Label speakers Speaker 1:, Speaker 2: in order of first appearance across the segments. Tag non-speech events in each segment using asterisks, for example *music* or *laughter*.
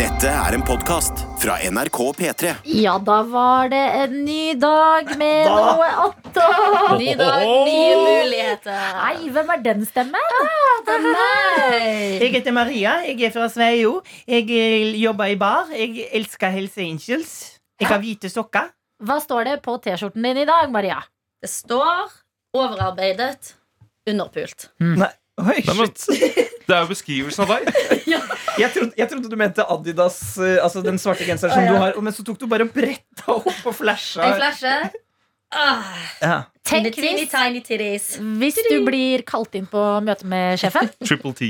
Speaker 1: Dette er en podkast fra NRK P3.
Speaker 2: Ja, da var det en ny dag med
Speaker 3: Da-
Speaker 2: noe attåt.
Speaker 4: Ny dag, nye muligheter.
Speaker 2: Nei, hvem er den stemmen?
Speaker 4: Hei.
Speaker 3: Jeg heter Maria, jeg er fra Sveio. Jeg eh, jobber i bar. Jeg elsker Helse Angels. Jeg har hvite sokker.
Speaker 2: Hva står det på T-skjorten din i dag, Maria?
Speaker 4: Det står overarbeidet, underpult.
Speaker 3: Nei, oi,
Speaker 5: Nei, men,
Speaker 3: shit.
Speaker 5: det er jo beskrivelsen av deg.
Speaker 3: Jeg trodde, jeg trodde du mente Adidas, eh, altså den svarte genseren som
Speaker 4: Å, ja.
Speaker 3: du har. Men så tok du bare og bretta opp og flasha.
Speaker 4: En flashe. Ah,
Speaker 3: Ja.
Speaker 2: Tenk
Speaker 4: teeny,
Speaker 2: hvis,
Speaker 4: tiny titties.
Speaker 2: hvis du blir kalt inn på møte med sjefen,
Speaker 4: *laughs*
Speaker 5: Triple T.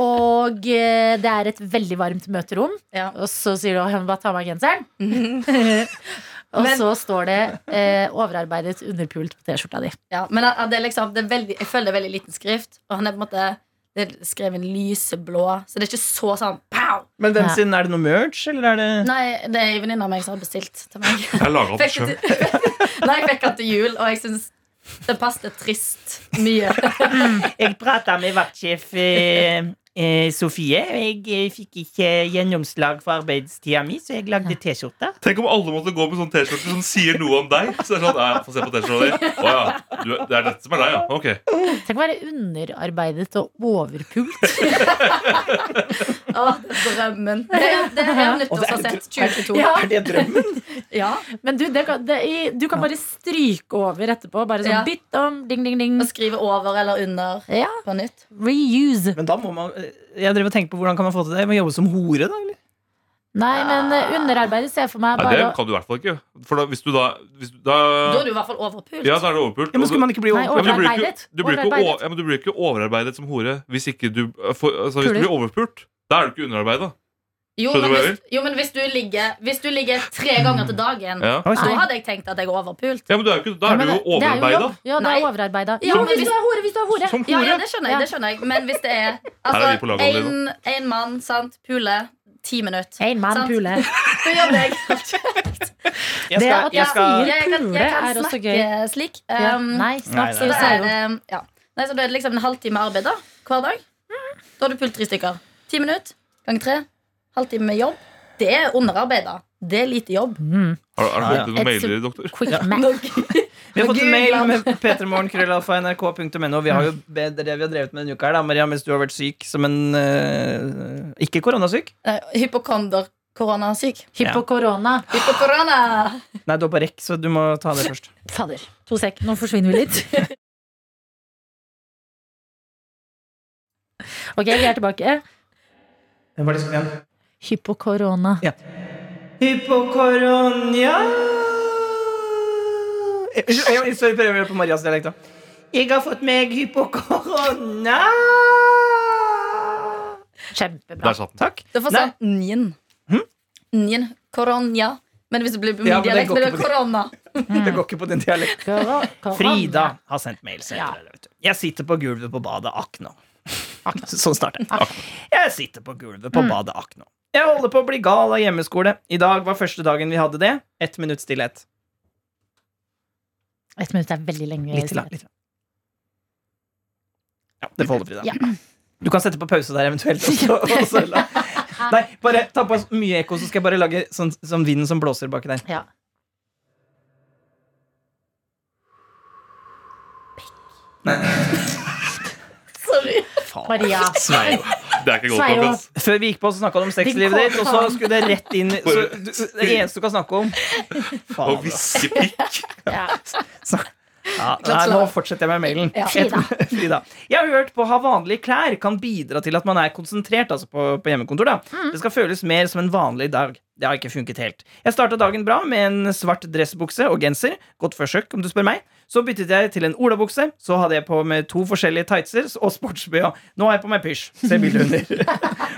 Speaker 2: og eh, det er et veldig varmt møterom,
Speaker 4: Ja.
Speaker 2: og så sier du «Åh, bare ta av meg genseren.
Speaker 4: *laughs*
Speaker 2: Og
Speaker 4: Men-
Speaker 2: så står det eh, 'overarbeidet underpult' på T-skjorta di.
Speaker 4: Ja, men det det er liksom, det er veldig, jeg føler det er veldig liten skrift. Og han er på en måte det er skrevet en lyseblå, så det er ikke så sånn pow!
Speaker 3: Men hvem
Speaker 2: Ja.
Speaker 3: sin? Er det noe merch, eller er det
Speaker 4: Nei, det er en venninne av meg som har bestilt til meg.
Speaker 5: Jeg laga den
Speaker 4: Fikk
Speaker 5: sjøl.
Speaker 4: jeg til, *laughs* nei, jeg fikk han til jul, og jeg syns det passet trist mye.
Speaker 3: Jeg prata med vaktsjef eh, eh, Sofie. Jeg eh, fikk ikke gjennomslag for arbeidstida mi, så jeg lagde T-skjorte.
Speaker 5: Tenk om alle måtte gå med sånn T-skjorte som sier noe om deg. Så det er sånn, ja, Få se på T-skjorta di. Å ja. Du, det er dette som er deg, ja. Ok.
Speaker 2: Tenk å være underarbeidet og overpult.
Speaker 4: Å, drømmen. Det er, det er nyttårsforsett 2022.
Speaker 2: Ja.
Speaker 3: Er det *laughs* drømmen?
Speaker 4: Ja.
Speaker 2: Men du, det kan, det, i- du kan bare stryke over etterpå. Bare sånn
Speaker 4: Ja.
Speaker 2: bytt om, ding, ding, ding.
Speaker 4: Å skrive over eller under
Speaker 2: Mm. Ja.
Speaker 4: på nytt.
Speaker 2: Reuse.
Speaker 3: Men da må man eh, Jeg drev og tenkte på hvordan kan man få til det. Jeg må jobbe som hore, da? eller?
Speaker 2: Nei, men eh, underarbeidet ser jeg for meg
Speaker 5: Nei,
Speaker 2: bare
Speaker 5: det
Speaker 2: å-
Speaker 5: kan du i hvert fall ikke. For da, hvis du da, hvis du, da
Speaker 4: Da er du i hvert fall overpult.
Speaker 5: Ja, da er det overpult.
Speaker 3: Ja, men
Speaker 5: og
Speaker 3: skulle
Speaker 5: du-
Speaker 3: man ikke bli
Speaker 2: Nei,
Speaker 5: Ja, men
Speaker 3: overprøvd?
Speaker 5: du blir ikke-
Speaker 2: Overarbeidet.
Speaker 5: Du blir ikke
Speaker 2: Overarbeidet.
Speaker 5: å- ja, men du blir ikke overarbeidet som hore hvis ikke du eh, for, altså, Hvis du
Speaker 2: Puler.
Speaker 5: blir overpult. Da er du ikke underarbeida.
Speaker 4: Jo,
Speaker 5: Skjønner
Speaker 4: men
Speaker 5: du hva jeg
Speaker 4: hvis, jo, men hvis du ligger Hvis du ligger tre ganger til dagen,
Speaker 5: Ja.
Speaker 3: Oi,
Speaker 4: så
Speaker 3: sorry.
Speaker 4: hadde jeg tenkt at jeg er overpult.
Speaker 5: ja, men du er jo ikke, da
Speaker 2: Ja,
Speaker 5: er
Speaker 2: men
Speaker 5: du jo
Speaker 2: det- det er jo
Speaker 5: overarbeida.
Speaker 2: jobb. Ja, det er
Speaker 4: Nei.
Speaker 2: overarbeida.
Speaker 4: Ja,
Speaker 2: Jo,
Speaker 4: men
Speaker 2: hvis
Speaker 4: hvis-
Speaker 2: du er hore, hvis du er hore!
Speaker 5: Som
Speaker 4: Ja,
Speaker 5: hore.
Speaker 4: ja, det skjønner
Speaker 2: Ja.
Speaker 4: jeg. det skjønner jeg Men hvis det er
Speaker 5: *laughs* Her er vi på
Speaker 4: altså,
Speaker 5: lag allerede
Speaker 4: en, en mann, sant, pule, ti minutter
Speaker 2: Ein mann
Speaker 4: sant?
Speaker 2: pule.
Speaker 4: Så jobber jeg
Speaker 3: Jeg
Speaker 2: Det er at *laughs*
Speaker 3: skal,
Speaker 2: jeg
Speaker 3: jeg skal,
Speaker 2: sier-
Speaker 4: jeg kan, jeg kan
Speaker 2: Pule er også
Speaker 4: snakke slik.
Speaker 2: Ja.
Speaker 4: Um,
Speaker 2: Eh, Nei,
Speaker 3: Nei,
Speaker 2: snart skal vi
Speaker 3: nei,
Speaker 4: så det
Speaker 2: si
Speaker 4: er,
Speaker 2: noe.
Speaker 4: um, ja. Nei, så da er det liksom en halvtime arbeid da hver dag. Da har du pult tre stykker. Ti minutter ganger tre. Halvtime jobb. Det er underarbeid, da. Det er lite jobb.
Speaker 2: Mm.
Speaker 5: Har har du
Speaker 3: Ja, ja.
Speaker 5: fått inn noen
Speaker 2: Et
Speaker 5: mailer, doktor?
Speaker 2: Quick math.
Speaker 3: vi har fått en mail
Speaker 4: Google.
Speaker 3: med p3morgen.krøllalfa.nrk.no. Vi har jo be- det er det vi har drevet med denne uka, her da, Maria, mens du har vært syk som en eh, Ikke koronasyk.
Speaker 4: *laughs* Nei, Hypokonder. Koronasyk.
Speaker 2: Hippokorona.
Speaker 4: Hypokorona.
Speaker 3: Nei, du har bare rekk, så du må ta det først.
Speaker 2: Fader. To sek, nå forsvinner vi litt. *laughs* Ok, vi er tilbake.
Speaker 3: Hvem var det som igjen?
Speaker 2: Hypokorona.
Speaker 3: Hypokoronia Eh, Unnskyld, jeg- Sorry, prøv å gjøre det på Marias dialekt. da. Jeg har fått meg hypokorona.
Speaker 2: Kjempebra.
Speaker 5: Der satt den.
Speaker 3: Takk.
Speaker 4: Du får
Speaker 3: Nei. Hm?
Speaker 4: sånn njen. Njen. Koronja. Men hvis det blir på min
Speaker 3: Ja, men det
Speaker 4: dialekt,
Speaker 3: går
Speaker 4: blir
Speaker 3: ikke
Speaker 4: det
Speaker 3: på det.
Speaker 4: korona.
Speaker 3: Det går ikke på din dialekt.
Speaker 2: Koro- korona.
Speaker 3: Frida har sendt mail. så jeg
Speaker 2: Ja.
Speaker 3: tror det, vet du. Jeg sitter på gulvet på badet akk nå. *laughs* Sånn starter jeg. Jeg sitter på gulvet på badet akk nå. Jeg holder på å bli gal av hjemmeskole. I dag var første dagen vi hadde det. Ett minutts stillhet.
Speaker 2: Ett minutt er veldig lenge.
Speaker 3: Litt til, da. Litt til. Ja, det får holde, Frida.
Speaker 2: Ja.
Speaker 3: Du kan sette på pause der eventuelt. Og så, og så la. Nei, bare ta på så mye ekko, så skal jeg bare lage sånn, sånn vinden som blåser baki der.
Speaker 2: Ja. *laughs*
Speaker 4: Sorry.
Speaker 3: Faen. *laughs*
Speaker 2: Maria.
Speaker 3: Sveio.
Speaker 5: Det er ikke godt
Speaker 2: Sveio.
Speaker 5: nok. ass.
Speaker 3: Før vi gikk på, så snakka du om
Speaker 2: Din
Speaker 3: sexlivet ditt, og så
Speaker 2: faen.
Speaker 3: skulle det rett inn i- så,
Speaker 5: Bare- altså.
Speaker 3: du, Det eneste du kan snakke om.
Speaker 5: Og
Speaker 3: Faen. da.
Speaker 5: hviske pikk.
Speaker 2: Ja.
Speaker 3: Ja, nei, nå fortsetter jeg med mailen.
Speaker 4: Ja.
Speaker 2: Frida.
Speaker 3: Et- *laughs* Frida. Jeg har hørt på å ha vanlige klær kan bidra til at man er konsentrert altså på, på hjemmekontor. Da. Det skal føles mer som en vanlig dag. Det har ikke funket helt. Jeg starta dagen bra med en svart dressbukse og genser. Godt forsøk, om du spør meg. Så byttet jeg til en olabukse. Så hadde jeg på med to forskjellige tightser og sportsbh. Nå har jeg på meg pysj. Se bildet under.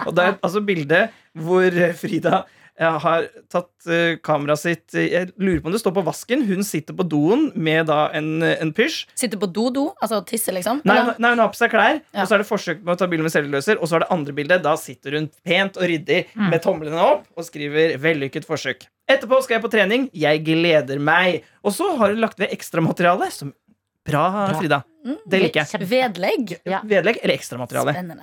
Speaker 3: og det er et- altså bildet hvor eh, Frida eh, har tatt eh, kameraet sitt eh, Jeg lurer på om det står på vasken. Hun sitter på doen med da en, eh, en pysj.
Speaker 4: Sitter på do-do, altså tisse, liksom.
Speaker 3: Nei,
Speaker 4: Eller?
Speaker 3: hun- nei, hun har på seg klær,
Speaker 4: Ja.
Speaker 3: og så er det forsøk med å ta bilde med selvløser. Og så er det andre bildet. Da sitter hun pent og ryddig med tomlene opp og skriver 'vellykket forsøk'. Etterpå skal jeg på trening. Jeg gleder meg. Og så har hun lagt ved ekstramateriale. Som Bra, Frida. Det liker jeg.
Speaker 2: Kjempe-
Speaker 4: Vedlegg.
Speaker 2: Ja.
Speaker 3: Vedlegg eller ekstramateriale.
Speaker 4: Spennende.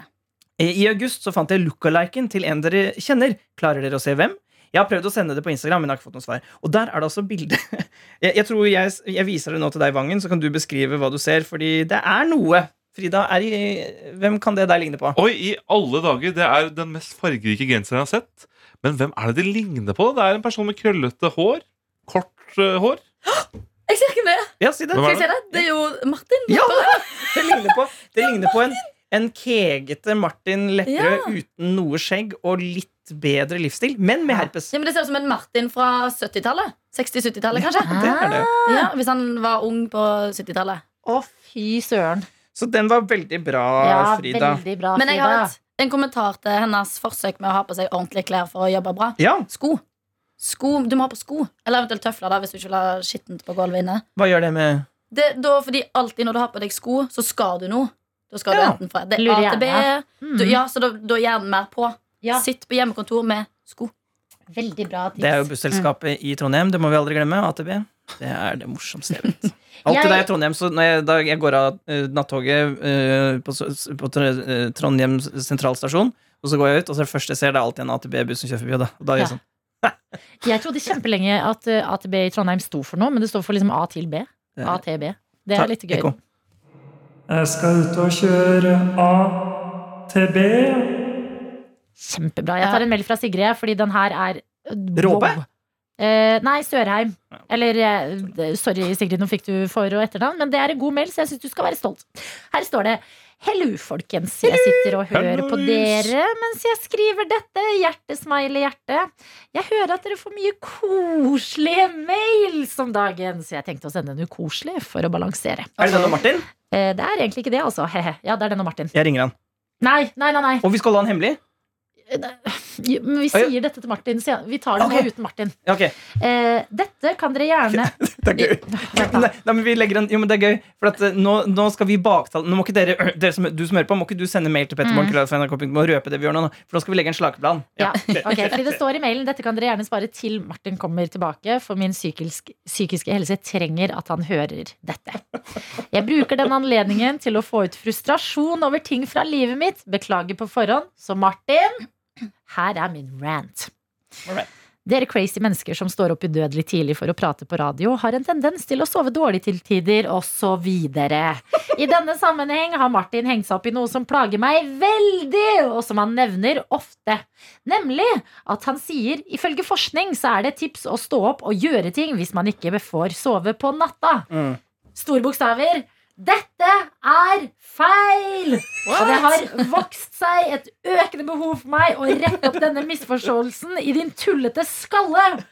Speaker 3: Eh, I august så fant jeg lookaliken til en dere kjenner. Klarer dere å se hvem? Jeg har prøvd å sende det på Instagram, men har ikke fått noe svar. Og der er det altså bilde. *laughs* Jeg, jeg tror jeg, jeg viser det nå til deg, Vangen, så kan du beskrive hva du ser, fordi det er noe. Frida, er i, hvem kan det der ligne på?
Speaker 5: Oi, i alle dager! Det er den mest fargerike genseren jeg har sett. Men hvem er det det ligner på? da? Det er en person med krøllete hår. Kort eh, hår.
Speaker 4: Jeg ser ikke med.
Speaker 3: Ja, si det.
Speaker 5: Hvem
Speaker 4: Skal
Speaker 5: er
Speaker 4: jeg se det? Det er jo Martin.
Speaker 3: Ja, det ligner på, det ligner på en, en kegete Martin Lepperød
Speaker 4: Ja.
Speaker 3: uten noe skjegg og litt bedre livsstil, men med herpes.
Speaker 4: Ja, men det ser ut som en Martin fra 70-tallet. 60-70-tallet, kanskje. Ah.
Speaker 3: Det er det.
Speaker 4: Ja, Hvis han var ung på 70-tallet.
Speaker 2: Å, fy søren.
Speaker 3: Så den var veldig bra,
Speaker 2: Ja,
Speaker 3: Frida.
Speaker 2: veldig bra,
Speaker 4: Men jeg har
Speaker 2: Frida.
Speaker 4: et, en kommentar til hennes forsøk med å ha på seg ordentlige klær for å jobbe bra.
Speaker 3: Ja,
Speaker 4: Sko. Sko, Du må ha på sko. Eller eventuelt tøfler da, hvis du ikke vil ha skittent på gulvet inne.
Speaker 3: hva gjør det med
Speaker 4: Det, da, fordi alltid når du har på deg sko, så skal du noe. Da skal
Speaker 3: Ja.
Speaker 4: du enten fra det er
Speaker 2: Lurer
Speaker 4: A til B.
Speaker 2: gjerne.
Speaker 4: Du, ja, så da, da er hjernen mer på.
Speaker 2: Mm. Ja.
Speaker 4: Sitt på hjemmekontor med sko.
Speaker 2: Veldig bra tips.
Speaker 3: Det er jo busselskapet i Trondheim, det må vi aldri glemme. AtB. Det er det morsomste jeg
Speaker 2: *laughs*
Speaker 3: vet. Alt
Speaker 2: Jeg-
Speaker 3: det der i Trondheim, så når jeg, da jeg går av eh, nattoget eh, på, s- på Tr- eh, Trondheim sentralstasjon, og så går jeg ut, og så er det første jeg ser, det er alltid en AtB-buss som kjører forbi. og Da, og da er jeg
Speaker 2: Ja.
Speaker 3: sånn
Speaker 2: Jeg trodde kjempelenge at eh, AtB i Trondheim sto for noe, men det står for liksom A til B.
Speaker 3: Det er-
Speaker 2: A til B. Det er litt gøy.
Speaker 3: Eh, Ekko.
Speaker 6: Jeg skal ut og kjøre A til B.
Speaker 2: Kjempebra. Jeg tar en meld fra Sigrid, fordi den her er
Speaker 3: Råbe?
Speaker 2: Wow. Eh, nei, Sørheim. Eller eh, sorry, Sigrid, nå fikk du for- og etternavn, men det er en god meld, så jeg syns du skal være stolt. Her står det Hello, folkens. Jeg sitter og hører på
Speaker 5: Hellois.
Speaker 2: dere mens jeg skriver dette. Hjertesmiley, hjerte. Jeg hører at dere får mye koselige mails om dagen, så jeg tenkte å sende en ukoselig for å balansere.
Speaker 3: Er det denne Martin?
Speaker 2: Eh, det er egentlig ikke det, altså. Hehe. Ja, det er den og Martin.
Speaker 3: Jeg ringer han.
Speaker 2: Nei, nei, nei. nei.
Speaker 3: Og vi skal holde han hemmelig?
Speaker 2: Jo, Men vi sier dette til Martin. sen- Vi tar det
Speaker 3: Ok.
Speaker 2: nå uten Martin.
Speaker 3: Ja, ok.
Speaker 2: Eh, dette kan dere gjerne
Speaker 3: Det er gøy.
Speaker 2: Vent da.
Speaker 3: Nei, nei, men vi legger en, jo, men det er gøy For at, eh, nå, nå skal vi baktale Nå må ikke dere, *clears throat* dere som, du som hører på Må ikke du sende mail til Petter
Speaker 2: Mm.
Speaker 3: Morgen Du må røpe det vi gjør nå nå, For da skal vi legge en slagplan
Speaker 2: Ja, ok, fordi Det står i mailen dette kan dere gjerne spare til Martin kommer tilbake, for min psykisk, psykiske helse trenger at han hører dette. Jeg bruker den anledningen til å få ut frustrasjon over ting fra livet mitt. Beklager på forhånd. Så Martin, her er min rant.
Speaker 3: Alright.
Speaker 2: Dere crazy mennesker som står opp udødelig tidlig for å prate på radio, har en tendens til å sove dårlig til tider, osv. I denne sammenheng har Martin hengt seg opp i noe som plager meg veldig, og som han nevner ofte. Nemlig at han sier ifølge forskning så er det et tips å stå opp og gjøre ting hvis man ikke får sove på natta.
Speaker 3: Mm.
Speaker 2: Store bokstaver. Dette er feil! Og det har vokst seg et økende behov for meg å rette opp denne misforståelsen i din tullete skalle.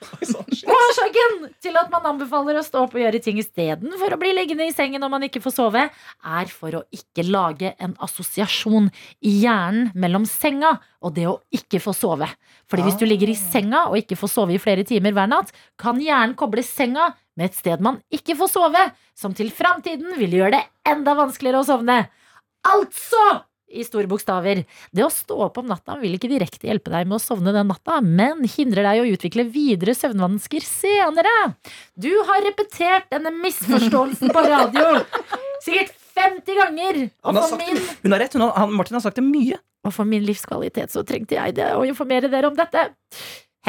Speaker 2: Årsaken til at man anbefaler å stå opp og gjøre ting istedenfor å bli liggende i sengen når man ikke får sove, er for å ikke lage en assosiasjon i hjernen mellom senga og det å ikke få sove. Fordi hvis du ligger i senga og ikke får sove i flere timer hver natt, kan hjernen koble senga med et sted man ikke får sove, som til framtiden vil gjøre det enda vanskeligere å sovne. Altså! I store bokstaver. Det å stå opp om natta vil ikke direkte hjelpe deg med å sovne den natta, men hindrer deg i å utvikle videre søvnvansker senere. Du har repetert denne misforståelsen på radio sikkert 50 ganger.
Speaker 3: Han
Speaker 2: Og
Speaker 3: har
Speaker 2: for
Speaker 3: sagt
Speaker 2: min,
Speaker 3: det Hun har rett, hun har, han, Martin har sagt det mye
Speaker 2: og for min livskvalitet så trengte jeg det å informere dere om dette.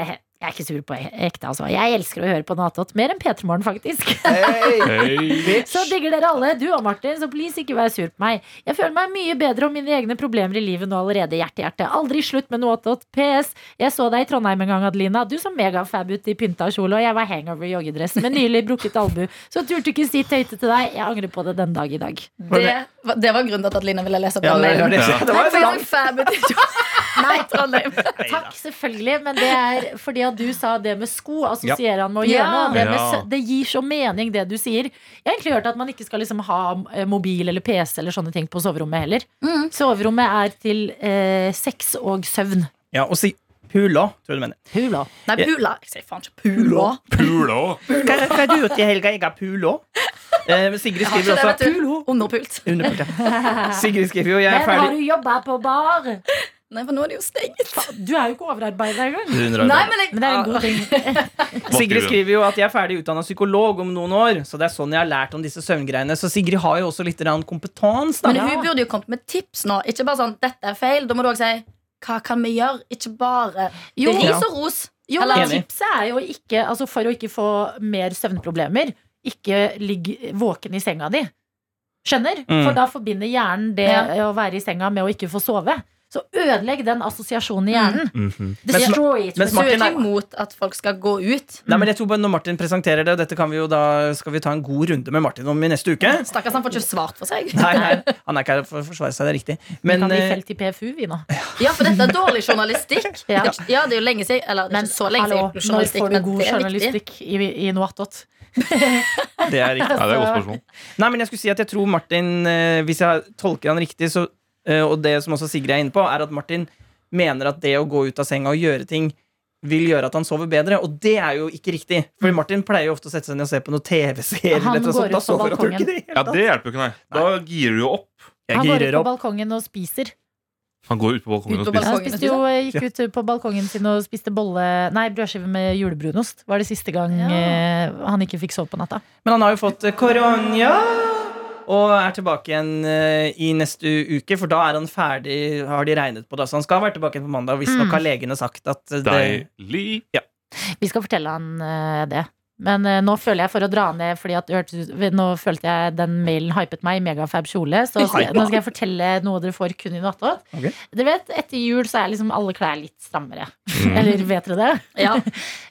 Speaker 2: Hehe. Jeg er ikke sur på ekte, altså. Jeg elsker å høre på noe annet mer enn P3 Morgen, faktisk.
Speaker 5: Hei.
Speaker 2: Så digger dere alle, du og Martin, så please ikke vær sur på meg. Jeg føler meg mye bedre om mine egne problemer i livet nå allerede. Hjerte, hjerte. Aldri slutt med noe attåt. PS. Jeg så deg i Trondheim en gang, Adelina. Du så megafab ut i pynta kjole, og jeg var hangover i joggedress med nylig brukket albu. Så turte ikke si tøyte til deg. Jeg angrer på det den dag i dag.
Speaker 4: Det, var- det var grunnen til at Adelina ville lese opp
Speaker 3: Ja,
Speaker 4: den
Speaker 3: det, det,
Speaker 4: mailen.
Speaker 3: det,
Speaker 5: Ja.
Speaker 3: det var
Speaker 4: Nei, for
Speaker 3: jo
Speaker 4: jeg
Speaker 3: langt
Speaker 4: var fab ut i *laughs* Trondheim.
Speaker 2: Takk, selvfølgelig, men det er fordi at du sa det med sko assosierer han med å gjøre
Speaker 4: Ja.
Speaker 2: noe. og Det, med,
Speaker 5: Ja.
Speaker 2: sø- det gir så mening, det du sier. Jeg har egentlig hørt at man ikke skal liksom ha eh, mobil eller PC eller sånne ting på soverommet heller.
Speaker 4: Mm.
Speaker 2: Soverommet er til eh, sex og søvn.
Speaker 3: Ja, og si Pula, tror jeg du mener
Speaker 2: Hula.
Speaker 4: Nei, pula. Jeg sier faen ikke pula.
Speaker 5: Pula òg.
Speaker 3: Hva hva har du gjort i helga? Jeg har pula eh, Sigrid
Speaker 4: Jeg har
Speaker 3: skriver
Speaker 4: ikke det,
Speaker 3: også
Speaker 4: vet du. Underpult. *laughs*
Speaker 3: Underpult, ja. Sigrid skriver jo Jeg
Speaker 2: Men
Speaker 3: er
Speaker 2: har
Speaker 3: ferdig
Speaker 2: du jobba på bar?
Speaker 4: Nei, for nå er det jo stengt.
Speaker 2: Du er jo ikke overarbeida engang.
Speaker 4: Nei, men, jeg,
Speaker 2: Men det er en god ting.
Speaker 3: Sigrid skriver jo at jeg er ferdig utdanna psykolog om noen år. Så det er sånn jeg har lært om disse søvngreiene. Så Sigrid har jo også litt grann kompetanse.
Speaker 4: men
Speaker 3: Da.
Speaker 4: hun burde jo kommet med tips nå. Ikke bare sånn 'dette er feil'. Da må du òg si 'hva kan vi gjøre'? Ikke bare
Speaker 2: Jo,
Speaker 4: ris og ros.
Speaker 2: Jo,
Speaker 4: Eller-
Speaker 2: men tipset er jo ikke altså For å ikke få mer søvnproblemer, ikke ligg våken i senga di. Skjønner?
Speaker 3: Mm.
Speaker 2: For da forbinder hjernen det
Speaker 4: Ja.
Speaker 2: å være i senga med å ikke få sove. Så ødelegg den assosiasjonen i
Speaker 4: Mm.
Speaker 2: hjernen.
Speaker 5: Mhm.
Speaker 2: Destroy it.
Speaker 3: Men
Speaker 4: Så hun er
Speaker 3: Martin
Speaker 4: ikke
Speaker 3: er-
Speaker 4: imot at folk skal gå ut.
Speaker 3: Nei, men jeg tror bare Når Martin presenterer det, og dette kan vi jo da, skal vi ta en god runde med Martin om i neste uke.
Speaker 4: *laughs* Stakkars, han får ikke svart for seg.
Speaker 3: Nei, nei, Han er ikke her for å forsvare seg, det er riktig.
Speaker 2: Men,
Speaker 3: Men
Speaker 2: kan bli
Speaker 3: eh,
Speaker 2: felt i PFU, vi nå.
Speaker 4: Ja, for dette er dårlig journalistikk.
Speaker 2: *laughs* Ja.
Speaker 4: Det er ikke- ja, det er jo lenge siden Eller det er
Speaker 2: Men
Speaker 4: ikke så lenge siden
Speaker 2: hallo,
Speaker 4: jeg gjorde
Speaker 2: når
Speaker 4: journalistikk,
Speaker 2: får du
Speaker 4: men
Speaker 2: god
Speaker 4: det er viktig.
Speaker 2: journalistikk i, i noe attåt?
Speaker 3: det er riktig.
Speaker 5: Ja, det er et godt spørsmål.
Speaker 3: Nei, men jeg skulle si at jeg tror Martin eh, Hvis jeg tolker han riktig så, eh, Og det som også Sigrid er inne på Er at Martin mener at det å gå ut av senga Og gjøre ting vil gjøre at han sover bedre Og det er jo ikke riktig For Martin pleier jo ofte å sette seg ned og se på noen tv-serier
Speaker 2: Mm. Han
Speaker 3: eller noe sånt.
Speaker 2: går ut
Speaker 3: Da
Speaker 2: på
Speaker 3: sover han jo
Speaker 2: balkongen.
Speaker 3: ikke i det hele
Speaker 5: Ja,
Speaker 3: tatt.
Speaker 5: det hjelper jo ikke, nei. Da girer du jo opp.
Speaker 3: Jeg
Speaker 2: Han går ut
Speaker 3: girer
Speaker 2: på
Speaker 3: opp
Speaker 2: balkongen og spiser.
Speaker 5: Han går ut på balkongen
Speaker 4: Ut
Speaker 5: og
Speaker 4: på
Speaker 5: spiser.
Speaker 4: balkongen.
Speaker 2: Han spiste jo, eh, gikk ut på balkongen sin og spiste bolle Nei, brødskive med julebrunost. Var det siste gang
Speaker 4: Ja.
Speaker 2: eh, han ikke fikk sove på natta.
Speaker 3: Men han har jo fått eh, koronja og er tilbake igjen eh, i neste uke, for da er han ferdig, har de regnet på det. Så han skal være tilbake igjen på mandag, hvis
Speaker 2: Mm.
Speaker 3: nok har legene sagt at eh, det
Speaker 5: Deilig.
Speaker 2: Vi skal fortelle han eh, det. Men eh, nå føler jeg for å dra ned, fordi at det hørtes ut- nå følte jeg den mailen hypet meg i megafab kjole. Så s-
Speaker 3: Hypa.
Speaker 2: nå skal jeg fortelle noe dere får kun i nattåt.
Speaker 3: Ok.
Speaker 2: Dere vet, etter jul så er liksom alle klær litt strammere.
Speaker 5: Mm.
Speaker 2: Eller vet dere det?
Speaker 4: Ja.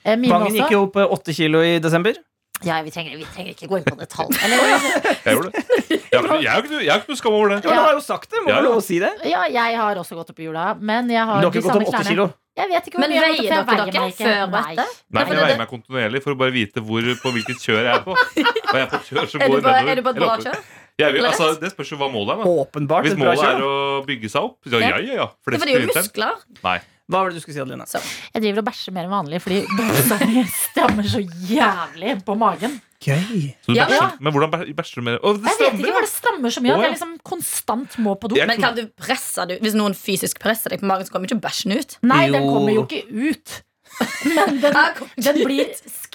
Speaker 2: Eh, Mine
Speaker 3: Vangen
Speaker 2: også.
Speaker 3: Mhm. gikk jo opp eh, åtte kilo i desember.
Speaker 2: Ja, vi trenger, vi trenger ikke gå inn på detalj. Eller,
Speaker 5: Jeg gjorde det. Jeg har ikke- jeg har ikke, jeg har ikke noe skam over
Speaker 3: Ja,
Speaker 5: det.
Speaker 3: men du har jo sagt det, må
Speaker 5: Ja,
Speaker 3: være
Speaker 5: ja.
Speaker 3: lov å si det.
Speaker 2: ja, jeg har også gått opp i jula, men jeg
Speaker 3: Men
Speaker 2: har
Speaker 3: du har
Speaker 2: de
Speaker 3: ikke gått
Speaker 2: samme
Speaker 3: opp åtte
Speaker 2: klærne.
Speaker 3: kilo?
Speaker 2: Jeg vet ikke hvor
Speaker 4: Men
Speaker 2: mye jeg har gått
Speaker 4: veier
Speaker 2: opp, for jeg veier
Speaker 4: dere dere
Speaker 2: meg ikke.
Speaker 4: før og etter? for
Speaker 5: Nei, men
Speaker 4: det-
Speaker 5: Jeg veier meg kontinuerlig for å bare vite hvor, på hvilket kjør jeg er på. Og jeg er på et kjør som
Speaker 4: Er du
Speaker 5: går
Speaker 4: på,
Speaker 5: nedover.
Speaker 4: er du på et
Speaker 5: eller
Speaker 4: bra
Speaker 5: oppover.
Speaker 4: kjør?
Speaker 5: Jeg vil, altså, det spørs jo hva målet er. da.
Speaker 3: Åpenbart.
Speaker 5: Hvis
Speaker 3: et bra
Speaker 5: målet er
Speaker 3: kjør.
Speaker 5: å bygge seg opp, ja, ja, ja. ja.
Speaker 4: Det er fordi det er jo muskler.
Speaker 5: Nei.
Speaker 3: Hva var det du skulle si, Adelina?
Speaker 2: Jeg driver og bæsjer mer enn vanlig fordi *laughs* buksene strammer så jævlig på magen.
Speaker 5: Så du
Speaker 4: Ja,
Speaker 5: bæsjer,
Speaker 4: ja.
Speaker 5: Men hvordan bæ- bæsjer du med det? Å, det
Speaker 2: Jeg vet ikke
Speaker 5: stemmer!
Speaker 2: hva det strammer så mye at
Speaker 5: Å, ja.
Speaker 2: jeg liksom konstant må på do.
Speaker 5: Jeg
Speaker 4: Men
Speaker 5: trodde-
Speaker 4: kan du presse det ut? Hvis noen fysisk presser deg på magen, så kommer ikke bæsjen ut.
Speaker 2: Nei, den
Speaker 3: Jo.
Speaker 2: kommer jo ikke ut. Men den,
Speaker 4: Her kommer
Speaker 5: *laughs*
Speaker 2: den
Speaker 4: ikke
Speaker 2: blir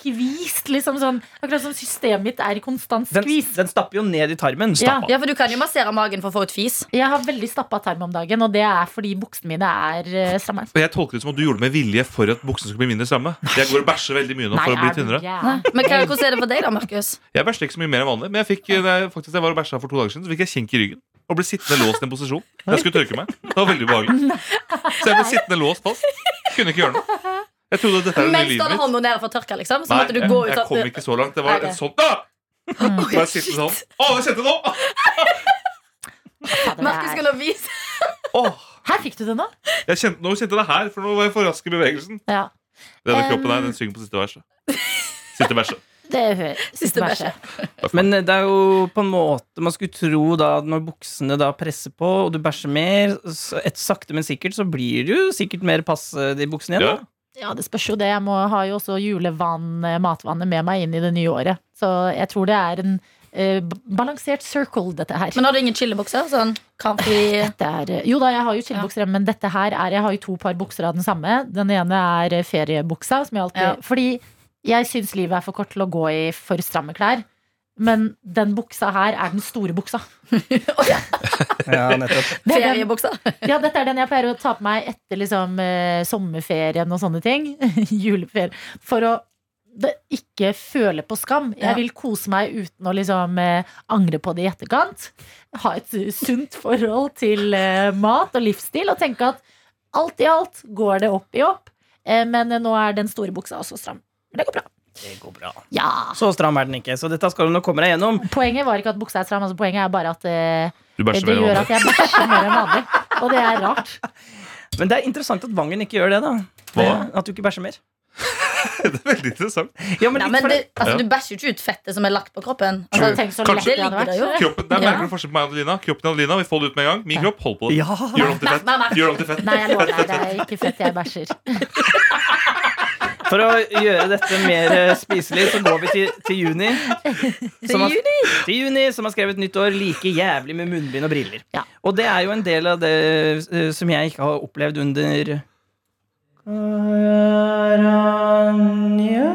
Speaker 2: skvist, liksom sånn. Akkurat som systemet mitt er i konstant
Speaker 3: Den,
Speaker 2: skvis.
Speaker 3: den stapper jo ned i tarmen.
Speaker 2: Ja.
Speaker 4: Ja, for du kan jo massere magen for å få ut fis.
Speaker 2: Jeg har veldig stappa tarm om dagen, og det er fordi buksene mine er eh, stramme.
Speaker 5: Og Jeg tolker det som at du gjorde det med vilje for at buksene skulle bli mindre stramme. Jeg går og bæsjer veldig mye nå for å bli
Speaker 2: er du
Speaker 5: tynnere.
Speaker 2: gæren?
Speaker 4: Men hva, hvordan er det for deg, da, Markus?
Speaker 5: Jeg bæsjer ikke så mye mer enn vanlig, men jeg fikk, da jeg- faktisk, jeg var og bæsja for to dager siden, så fikk jeg kink i ryggen. Og ble sittende låst i en posisjon. Jeg skulle tørke meg. Det var veldig ubehagelig. Så jeg ble sittende låst fast. Kunne ikke gjøre noe. Jeg trodde dette er det nye
Speaker 4: Mens du
Speaker 5: livet
Speaker 4: hadde
Speaker 5: mitt.
Speaker 4: hånda nede for å tørke, liksom? Så
Speaker 5: Nei,
Speaker 4: måtte du gå ut
Speaker 5: jeg, jeg kom ikke så langt. Det var
Speaker 4: Nei,
Speaker 5: en
Speaker 4: det-
Speaker 5: sånn da! Bare sitte sånn. Å, det kjente jeg nå!
Speaker 2: Fader,
Speaker 4: Markus
Speaker 2: det er-
Speaker 4: skulle vise
Speaker 5: Åh,
Speaker 2: Her fikk du det nå.
Speaker 5: jeg kjente, nå kjente jeg det her, for nå var jeg for rask i bevegelsen.
Speaker 2: Ja.
Speaker 5: Denne
Speaker 2: Um,
Speaker 5: kroppen her, den synger på siste verset. Siste verset.
Speaker 2: Det hører
Speaker 4: *laughs*
Speaker 2: siste
Speaker 4: Siste bæsje.
Speaker 2: bæsje.
Speaker 3: Men det er jo på en måte Man skulle tro da at når buksene da presser på, og du bæsjer mer, så et sakte, men sikkert, så blir det jo sikkert mer passe de buksene igjen.
Speaker 5: Ja.
Speaker 3: Da.
Speaker 2: Ja, det spørs jo det. Jeg må, har jo også julevann, eh, matvannet med meg inn i det nye året. Så jeg tror det er en eh, b- balansert circle, dette her.
Speaker 4: Men har du ingen chillebukser? Sånn comfy
Speaker 2: Dette er, eh, jo da, jeg har jo chillebukser, men dette her er Jeg har jo to par bukser av den samme. Den ene er eh, feriebuksa, som jeg alltid
Speaker 4: Ja.
Speaker 2: Fordi jeg syns livet er for kort til å gå i for stramme klær. Men den buksa her er den store buksa.
Speaker 3: Ja, nettopp.
Speaker 2: Det er den,
Speaker 4: feriebukser?
Speaker 2: ja, dette er den jeg pleier å ta på meg etter liksom, eh, sommerferien og sånne ting. *laughs* Juleferie. For å det, ikke føle på skam.
Speaker 4: Ja.
Speaker 2: Jeg vil kose meg uten å liksom, eh, angre på det i etterkant. Ha et eh, sunt forhold til eh, mat og livsstil og tenke at alt i alt går det opp i opp. Eh, men eh, nå er den store buksa også stram. Men det går bra.
Speaker 3: *laughs* Det går bra.
Speaker 2: Ja.
Speaker 3: Så stram er den ikke, så dette skal du nok komme deg gjennom.
Speaker 2: Poenget var ikke at buksa er stram, altså, poenget er bare at eh,
Speaker 5: Du bæsjer
Speaker 2: det
Speaker 5: mer enn
Speaker 2: gjør at
Speaker 5: vanlig.
Speaker 2: jeg bæsjer mer enn vanlig. Og det er rart.
Speaker 3: Men det er interessant at Vangen ikke gjør det, da.
Speaker 5: Hva? *laughs*
Speaker 3: At du ikke bæsjer mer.
Speaker 5: Det er veldig interessant.
Speaker 3: Ja, men
Speaker 4: Nei,
Speaker 3: litt
Speaker 4: men
Speaker 3: for det-
Speaker 4: det, altså,
Speaker 5: Ja.
Speaker 4: Du bæsjer jo ikke ut fettet som er lagt på kroppen.
Speaker 2: Altså,
Speaker 5: Kanskje-
Speaker 2: tenk så lett
Speaker 5: kanskje-
Speaker 2: det hadde vært.
Speaker 4: Det ligger der
Speaker 5: Kroppen, der
Speaker 4: Ja.
Speaker 5: merker du forskjell på meg og Adelina. Kroppen til Adelina, vi får det ut med en gang. Min kropp, hold på det.
Speaker 3: Ja.
Speaker 5: Gjør det om til
Speaker 4: Nei,
Speaker 5: fett.
Speaker 4: nei, nei.
Speaker 5: Gjør det om til fett.
Speaker 2: Nei, jeg lover deg, det er ikke fett jeg bæsjer.
Speaker 3: For å gjøre dette mer eh, spiselig, så går vi til, til juni. Som har, til juni, som har skrevet nytt år like jævlig med munnbind og briller.
Speaker 2: Ja.
Speaker 3: Og det er jo en del av det eh, som jeg ikke har opplevd under Karanja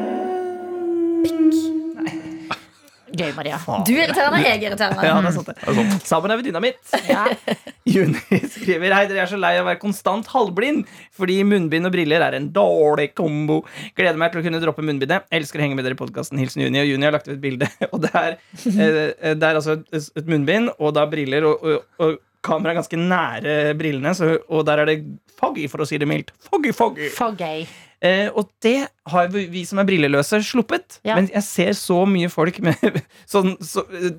Speaker 2: Gøy, Maria.
Speaker 4: Du er irriterende, jeg er irriterende.
Speaker 3: Ja, det er sant, det.
Speaker 5: er sant.
Speaker 3: Sammen er vi dynamitt.
Speaker 2: Ja.
Speaker 3: *laughs* Juni skriver Hei, dere er så lei av å være konstant halvblind fordi munnbind og briller er en dårlig kombo. Gleder meg til å kunne droppe munnbindet. Elsker å henge med dere i podkasten. Hilsen Juni. Og Juni har lagt ut et bilde, *laughs* og det er, eh, det er altså et, et munnbind og da briller og, og, og kamera er ganske nære brillene, så, og der er det foggy, for å si det mildt. Foggy, foggy.
Speaker 2: For gøy.
Speaker 3: Eh, og det har vi, vi som er brilleløse, sluppet.
Speaker 2: Ja.
Speaker 3: Men jeg ser så mye folk med *laughs* sånn, så, eh,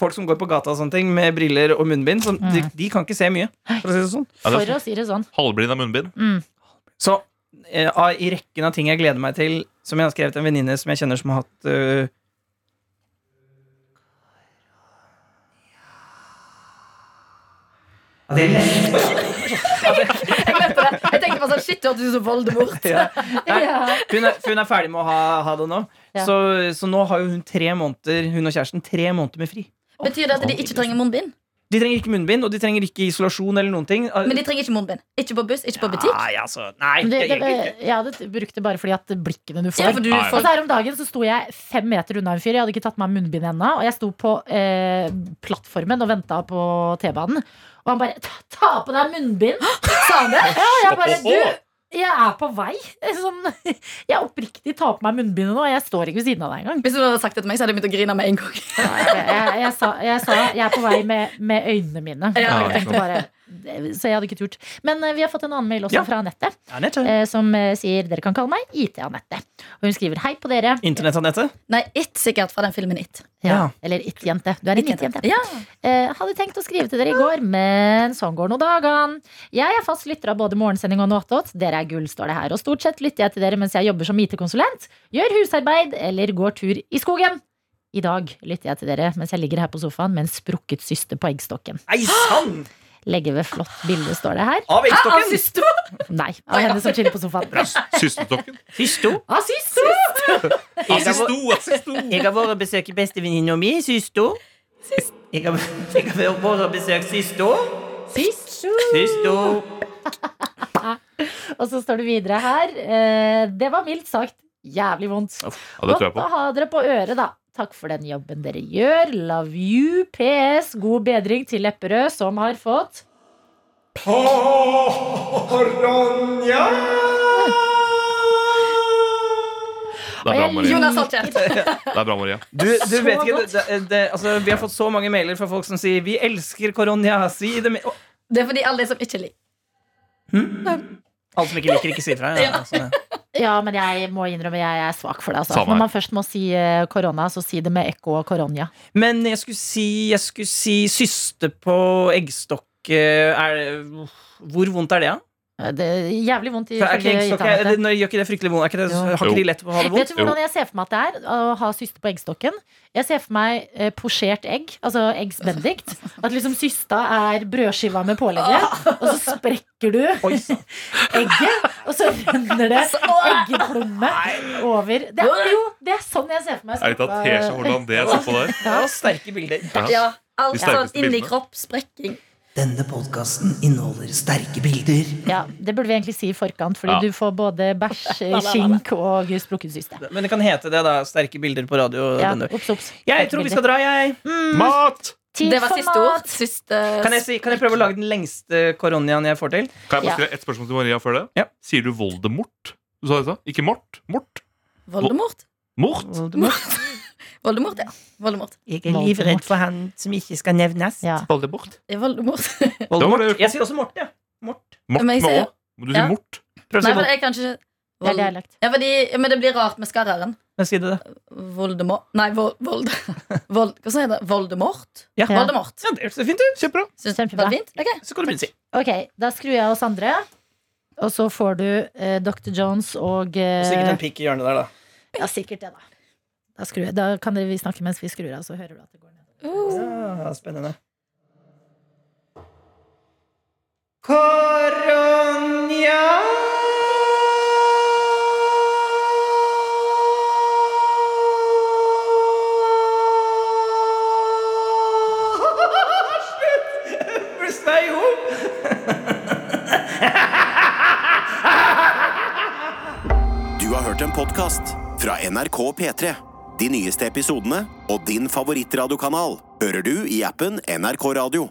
Speaker 3: Folk som går på gata og sånne ting med briller og munnbind. Som, de,
Speaker 2: Mm.
Speaker 3: de kan ikke se mye. For å si det sånn.
Speaker 5: Ja, det
Speaker 2: For
Speaker 5: er
Speaker 2: å si det sånn.
Speaker 5: Halvblind av munnbind.
Speaker 3: Så eh, av- i rekken av ting jeg gleder meg til, som jeg har skrevet til en venninne som jeg kjenner som har hatt eh,
Speaker 4: Jeg glemte det. Jeg tenkte bare sånn, shit, du hørtes ut som Voldemort.
Speaker 3: ja. Nei,
Speaker 2: Ja.
Speaker 3: hun, er, hun er ferdig med å ha, ha det nå.
Speaker 2: Ja.
Speaker 3: Så, så nå har jo hun tre måneder Hun og kjæresten tre måneder med fri.
Speaker 4: Betyr det at de ikke trenger munnbind?
Speaker 3: De trenger ikke munnbind, og de trenger ikke isolasjon eller noen ting.
Speaker 4: Men de trenger ikke munnbind. Ikke på buss, ikke på butikk.
Speaker 3: Nei, altså, nei
Speaker 2: Men Det, det,
Speaker 3: egentlig ikke.
Speaker 2: jeg hadde brukt det bare fordi at blikkene du
Speaker 4: Ja,
Speaker 2: får
Speaker 4: for du
Speaker 5: Nei,
Speaker 4: får
Speaker 2: Altså Her om dagen så sto jeg fem meter unna en fyr. Jeg hadde ikke tatt meg munnbind ennå. Og jeg sto på eh, plattformen og venta på T-banen. Og han bare ta, 'Ta på deg munnbind', sa han det. Ja, og jeg bare Du, jeg er på vei. Sånn, *laughs* jeg oppriktig tar på meg munnbindet nå. og Jeg står ikke ved siden av deg engang.
Speaker 4: Hvis du hadde sagt det til meg, så hadde jeg begynt å grine med en gang.
Speaker 2: Jeg, jeg, jeg, sa, jeg sa 'jeg er på vei med, med øynene mine'.
Speaker 4: Ja,
Speaker 2: Jeg
Speaker 5: ok.
Speaker 2: tenkte bare, så jeg hadde ikke turt. Men eh, vi har fått en annen mail også
Speaker 3: Ja.
Speaker 2: fra Anette,
Speaker 3: Ja, nettopp.
Speaker 2: eh, som eh, sier 'Dere kan kalle meg IT-Anette'. Og hun skriver 'Hei på dere'.
Speaker 3: Internettanettet?
Speaker 4: Nei, It sikkert fra den filmen It.
Speaker 2: Ja.
Speaker 3: Ja.
Speaker 2: Eller it-jente. Du er en it-jente.
Speaker 4: Ja.
Speaker 2: Eh, hadde tenkt å skrive til dere i går, men sånn går nå dagene. Jeg er fast lytter av både morgensending og Nåtåt. Dere er gull, står det her. Og stort sett lytter jeg til dere mens jeg jobber som IT-konsulent, gjør husarbeid eller går tur i skogen. I dag lytter jeg til dere mens jeg ligger her på sofaen med en sprukket syste på eggstokken.
Speaker 3: Ei sann!
Speaker 2: Legger ved flott bilde, står det her.
Speaker 3: Av eggstokken!
Speaker 4: Assisto!
Speaker 2: Nei, av henne som chiller på *laughs* sofaen.
Speaker 5: Systestokken.
Speaker 3: Systo.
Speaker 2: Ah,
Speaker 3: *laughs*
Speaker 2: syste!
Speaker 5: Assisto, assisto.
Speaker 3: Jeg har vært og besøkt bestevenninna mi, Systo. Jeg har, jeg har vært og besøkt Systo.
Speaker 2: Syste!
Speaker 3: Systo.
Speaker 2: Og så står det videre her. eh, Det var mildt sagt jævlig vondt.
Speaker 5: Ja, det tror jeg
Speaker 2: Godt
Speaker 5: på.
Speaker 2: å ha dere på øret, da. Takk for den jobben dere gjør. Love you. PS. God bedring til Lepperød, som har fått
Speaker 5: Det er bra, Maria.
Speaker 4: Jonas holdt kjeft.
Speaker 5: Det er bra, Maria.
Speaker 3: Du, du
Speaker 2: Så
Speaker 3: vet ikke det,
Speaker 2: godt.
Speaker 3: det, det, altså, Vi har fått så mange mailer fra folk som sier 'Vi elsker Koronia'. Si det med Å,
Speaker 4: Det er fordi alle som ikke liker
Speaker 3: Alle som ikke liker, ikke si fra. *laughs* Ja, altså.
Speaker 2: Ja, men jeg må innrømme jeg er svak for det. Altså.
Speaker 5: Samme her.
Speaker 2: Når man først må si eh, korona, så si det med ekko og koronia.
Speaker 3: Men jeg skulle si Jeg skulle si syste på eggstokk eh, er, Hvor vondt er det, da?
Speaker 2: Eh, Det er jævlig vondt i
Speaker 3: For Er ikke eggstokk er,
Speaker 2: internettet.
Speaker 3: det- når- Gjør ikke det fryktelig vondt? Er ikke det,
Speaker 2: Jo.
Speaker 3: har ikke de lett på å ha det vondt?
Speaker 2: Vet du hvordan jeg ser for meg at det er å ha syste på eggstokken? Jeg ser for meg eh, posjert egg, altså eggs benedict. At liksom systa er brødskiva med
Speaker 3: *laughs*
Speaker 2: pålegget, og så sprekker du
Speaker 3: Oi, sann.
Speaker 2: *laughs*
Speaker 3: Altså,
Speaker 2: egget, og så renner det eggeplomme over. Det er, jo, det er sånn jeg ser for meg.
Speaker 5: Er litt av tesje hvordan det jeg så på der.
Speaker 3: Det var sterke bilder.
Speaker 5: Ja.
Speaker 4: Ja, alt
Speaker 5: De sterkeste
Speaker 4: sånn inni
Speaker 5: bildene.
Speaker 4: kropp, sprekking.
Speaker 7: Denne podkasten inneholder sterke bilder.
Speaker 2: Ja, det burde vi egentlig si i forkant, fordi
Speaker 5: Ja.
Speaker 2: du får både
Speaker 3: *laughs*
Speaker 2: bæsj, kink og sprukket syste.
Speaker 3: Men det kan hete det, da. Sterke bilder på radio.
Speaker 2: Ja,
Speaker 3: denne.
Speaker 2: ops, ops.
Speaker 3: Jeg tror vi skal dra, jeg.
Speaker 5: Mat!
Speaker 2: Tid
Speaker 4: Det var
Speaker 2: for
Speaker 4: siste ord.
Speaker 2: mat.
Speaker 4: Siste
Speaker 3: Kan jeg, si, kan jeg prøve å lage den lengste koroniaen jeg får til?
Speaker 5: Kan jeg
Speaker 2: Ja.
Speaker 5: bare skrive et spørsmål til Maria før det?
Speaker 3: Ja.
Speaker 5: Sier du Voldemort? Du sa det, sa? Ikke Mort? Mort?
Speaker 4: Voldemort?
Speaker 5: Mort?
Speaker 4: Voldemort, ja. Voldemort.
Speaker 3: Jeg
Speaker 2: er livredd for
Speaker 3: han som ikke skal nevnes.
Speaker 2: Ja.
Speaker 3: Voldemort.
Speaker 4: Det er Voldemort.
Speaker 3: Jeg sier også Mort, jeg. Mort.
Speaker 5: Mort
Speaker 4: Men jeg
Speaker 5: med Å?
Speaker 4: sier-
Speaker 5: Du sier
Speaker 4: Ja.
Speaker 5: Mort.
Speaker 3: Prøv å
Speaker 4: Nei,
Speaker 3: si
Speaker 4: men
Speaker 3: Voldemort.
Speaker 4: jeg kan ikke
Speaker 2: Det er
Speaker 4: Vold...
Speaker 2: dialekt.
Speaker 4: Ja, fordi, ja, men det blir rart med skarreren.
Speaker 3: Men si det, da.
Speaker 4: Voldemort Nei, Vol- Vold... *laughs* Vold... Hva sier jeg da? Voldemort?
Speaker 3: Ja.
Speaker 4: Voldemort.
Speaker 3: Ja, det ser fint ut.
Speaker 5: Kjempebra.
Speaker 4: Syns
Speaker 2: Kjempebra.
Speaker 4: var det fint? Ok.
Speaker 3: Så kan du begynne å si.
Speaker 2: Ok, da skrur jeg oss andre. Og så får du eh, Dr. Jones og eh,
Speaker 3: Sikkert en pikk i hjørnet der, da.
Speaker 2: Ja, sikkert det, da. Da, skrur jeg. da kan dere- vi snakke mens vi skrur av, så hører du at det går ned.
Speaker 3: Ja, spennende. *laughs* Koronia!
Speaker 1: podkast fra NRK P3. De nyeste episodene og din favorittradiokanal hører du i appen NRK Radio.